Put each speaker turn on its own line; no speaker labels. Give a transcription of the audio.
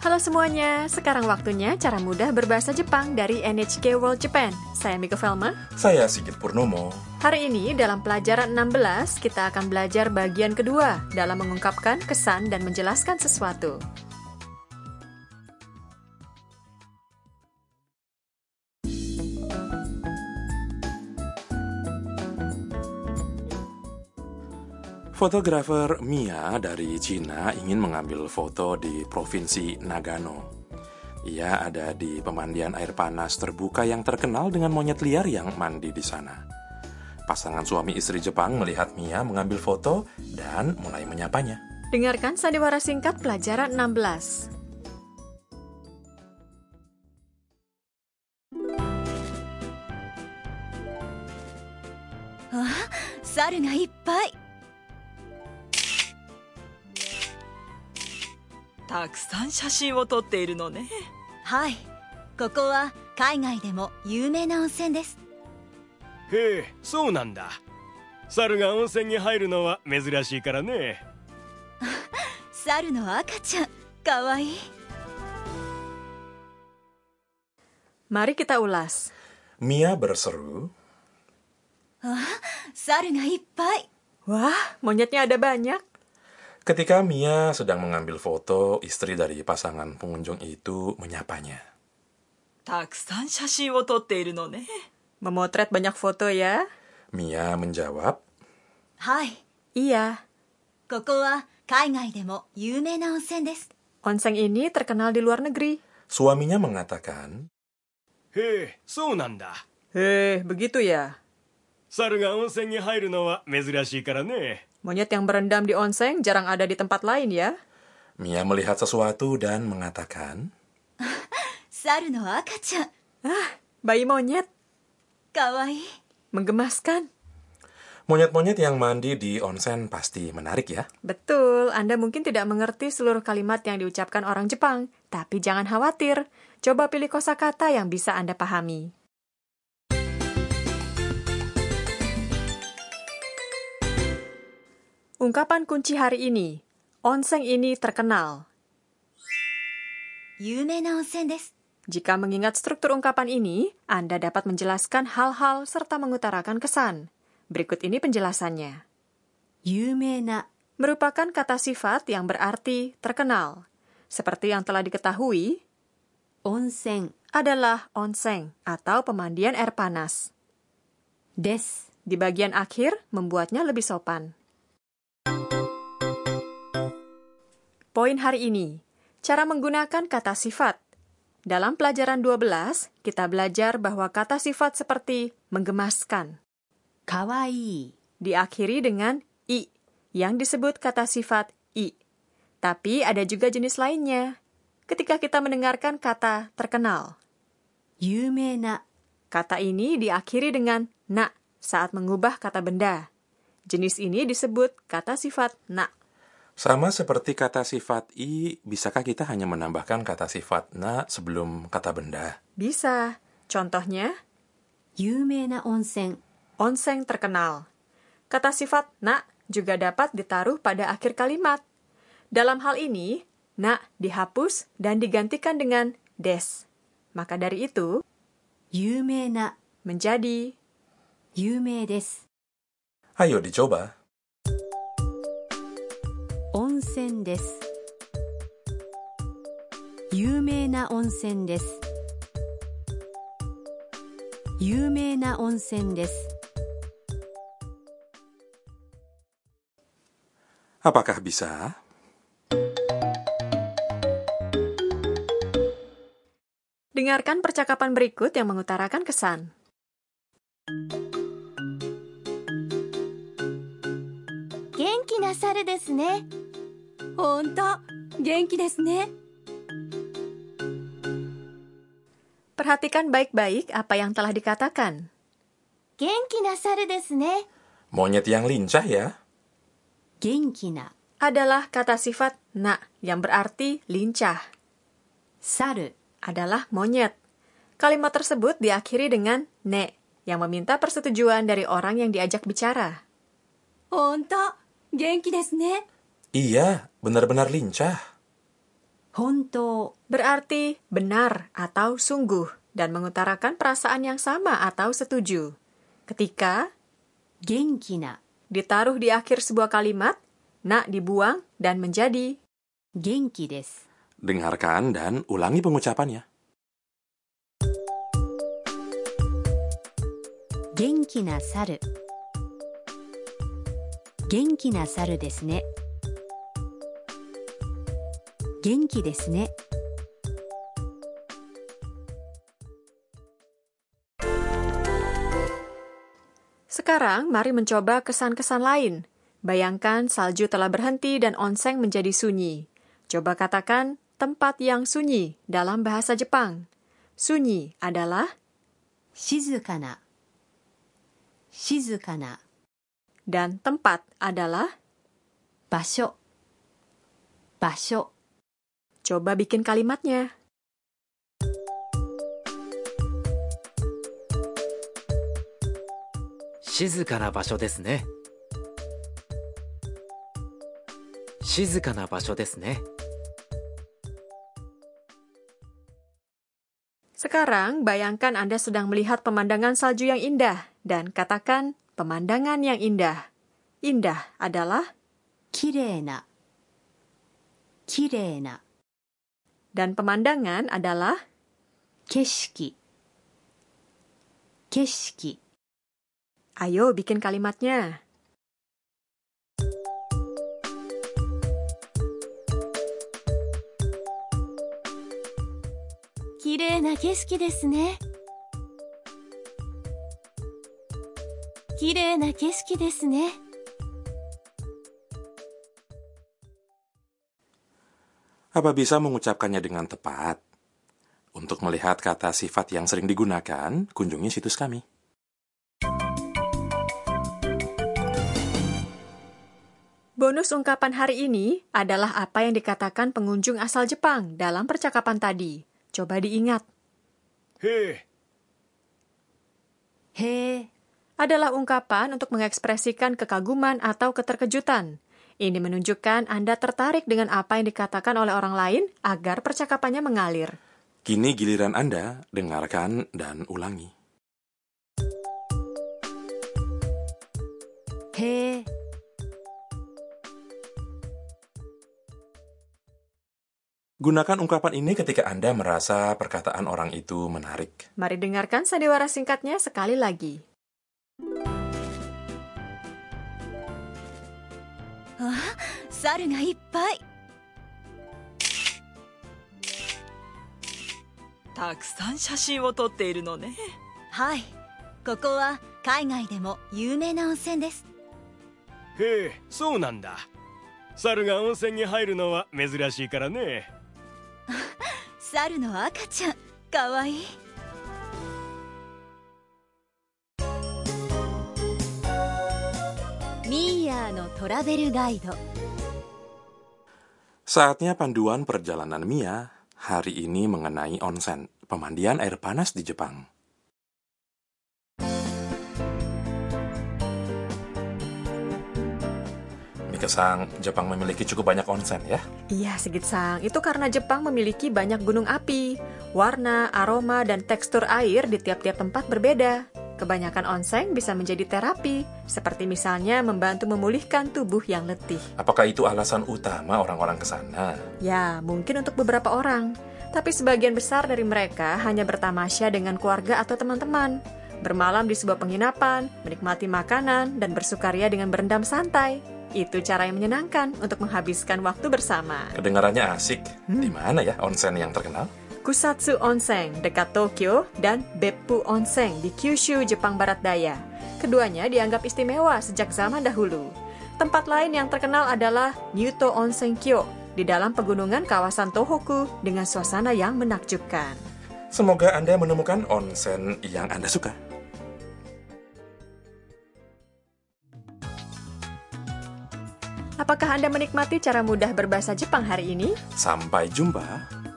Halo semuanya, sekarang waktunya cara mudah berbahasa Jepang dari NHK World Japan. Saya Mika Velma.
Saya Sigit Purnomo.
Hari ini dalam pelajaran 16 kita akan belajar bagian kedua dalam mengungkapkan kesan dan menjelaskan sesuatu.
Fotografer Mia dari Cina ingin mengambil foto di provinsi Nagano. Ia ada di pemandian air panas terbuka yang terkenal dengan monyet liar yang mandi di sana. Pasangan suami istri Jepang melihat Mia mengambil foto dan mulai menyapanya.
Dengarkan sandiwara singkat pelajaran 16.
猿がいっぱい
たくさん写真を撮っているのね
はいここは海外でも有名な温泉です
へえそうなんだ猿が温泉に入るのは珍しいからね
猿の赤ちゃんかわいい
Mari kita ulas.
Mia berseru,
猿がいっぱい
Wah, monyetnya ada banyak.
ketika Mia sedang mengambil foto, istri dari pasangan pengunjung itu menyapanya.
たくさん写真を撮っているのね
Memotret banyak foto ya?
Mia menjawab,
はい
Iya.
ここは海外でも有名な温泉です
Onsen ini terkenal di luar negeri.
suaminya mengatakan,
へえそうなんだ
Heh, begitu ya.
猿が温泉に入るのは珍しいからね
Monyet yang berendam di onsen jarang ada di tempat lain ya.
Mia melihat sesuatu dan mengatakan,
猿の赤ちゃん
Ah, Bayi monyet
かわいい
menggemaskan.
monyet-monyet yang mandi di onsen pasti menarik ya.
Betul, Anda mungkin tidak mengerti seluruh kalimat yang diucapkan orang Jepang, tapi jangan khawatir. Coba pilih kosakata yang bisa Anda pahami. Ungkapan kunci hari ini, onsen ini terkenal.
有名な温泉です
Jika mengingat struktur ungkapan ini, Anda dapat menjelaskan hal-hal serta mengutarakan kesan. Berikut ini penjelasannya.
有名な
Merupakan kata sifat yang berarti terkenal. Seperti yang telah diketahui,
温泉
adalah onsen atau pemandian air panas.
です
Di bagian akhir, membuatnya lebih sopan. Poin hari ini, cara menggunakan kata sifat. Dalam pelajaran 12, kita belajar bahwa kata sifat seperti menggemaskan
かわいい
diakhiri dengan i yang disebut kata sifat i. Tapi ada juga jenis lainnya. Ketika kita mendengarkan kata terkenal,
有名な
Kata ini diakhiri dengan na saat mengubah kata benda. Jenis ini disebut kata sifat na.
Sama seperti kata sifat i, bisakah kita hanya menambahkan kata sifat na sebelum kata benda?
Bisa. Contohnya,
有名な温泉
onsen terkenal. Kata sifat na juga dapat ditaruh pada akhir kalimat. Dalam hal ini, na dihapus dan digantikan dengan des. Maka dari itu
有名な
menjadi
有名です
Ayo dicoba.
温泉です有名な温泉です有名な温泉です
Apakah bisa?
Dengarkan percakapan berikut yang mengutarakan kesan.
元気な猿ですね
本当元気ですね
Perhatikan baik-baik apa yang telah dikatakan.
元気な猿ですね
Monyet yang lincah ya.
元気な
adalah kata sifat na yang berarti lincah
猿
adalah monyet. Kalimat tersebut diakhiri dengan ne yang meminta persetujuan dari orang yang diajak bicara.
本当元気ですね
Iya, benar-benar lincah.
本当
berarti benar atau sungguh dan mengutarakan perasaan yang sama atau setuju. Ketika
元気な
ditaruh di akhir sebuah kalimat, na dibuang dan menjadi
元気です
Dengarkan dan ulangi pengucapannya.
元気な猿元気な猿ですね元気ですね
Sekarang mari mencoba kesan-kesan lain. Bayangkan salju telah berhenti dan onseng menjadi sunyi. Coba katakan tempat yang sunyi dalam bahasa Jepang. Sunyi adalah
静かな静かな
dan tempat adalah
場所場所
coba bikin kalimatnya.
静かな場所ですね静かな場所ですね
Sekarang bayangkan Anda sedang melihat pemandangan salju yang indah dan katakan pemandangan yang indah. Indah adalah
きれいなきれいな
dan pemandangan adalah
景色景色
ayo bikin kalimatnya.
綺麗な景色ですね綺麗な景色ですね
Apa bisa mengucapkannya dengan tepat? Untuk melihat kata sifat yang sering digunakan, kunjungi situs kami.
Bonus ungkapan hari ini adalah apa yang dikatakan pengunjung asal Jepang dalam percakapan tadi. Coba diingat,
へえ
へえ
adalah ungkapan untuk mengekspresikan kekaguman atau keterkejutan. Ini menunjukkan Anda tertarik dengan apa yang dikatakan oleh orang lain agar percakapannya mengalir.
Kini giliran Anda, dengarkan dan ulangi.
へえ
Gunakan ungkapan ini ketika Anda merasa perkataan orang itu menarik.
Mari dengarkan sandiwara singkatnya sekali lagi.
猿がいっぱい
たくさん写真を撮っているのね
はいここは海外でも有名な温泉です
へえそうなんだ猿が温泉に入るのは珍しいからね
猿の赤ちゃんかわいいミーヤーのトラベルガイド
Saatnya panduan perjalanan Mia hari ini mengenai onsen, pemandian air panas di Jepang. Mikesang, Jepang memiliki cukup banyak onsen ya.
Iya, Sigit Sang. Itu karena Jepang memiliki banyak gunung api. Warna, aroma, dan tekstur air di tiap-tiap tempat berbeda. Kebanyakan onsen bisa menjadi terapi, seperti misalnya membantu memulihkan tubuh yang letih.
Apakah itu alasan utama orang-orang ke sana?
Ya, mungkin untuk beberapa orang. Tapi sebagian besar dari mereka hanya bertamasya dengan keluarga atau teman-teman. Bermalam di sebuah penginapan, menikmati makanan, dan bersukaria dengan berendam santai. Itu cara yang menyenangkan untuk menghabiskan waktu bersama.
Kedengarannya asik. Di mana ya onsen yang terkenal?
Kusatsu Onsen dekat Tokyo dan Beppu Onsen di Kyushu, Jepang Barat Daya. Keduanya dianggap istimewa sejak zaman dahulu. Tempat lain yang terkenal adalah Nyuto Onsen Kyo di dalam pegunungan kawasan Tohoku dengan suasana yang menakjubkan.
Semoga Anda menemukan onsen yang Anda suka.
Apakah Anda menikmati cara mudah berbahasa Jepang hari ini?
Sampai jumpa.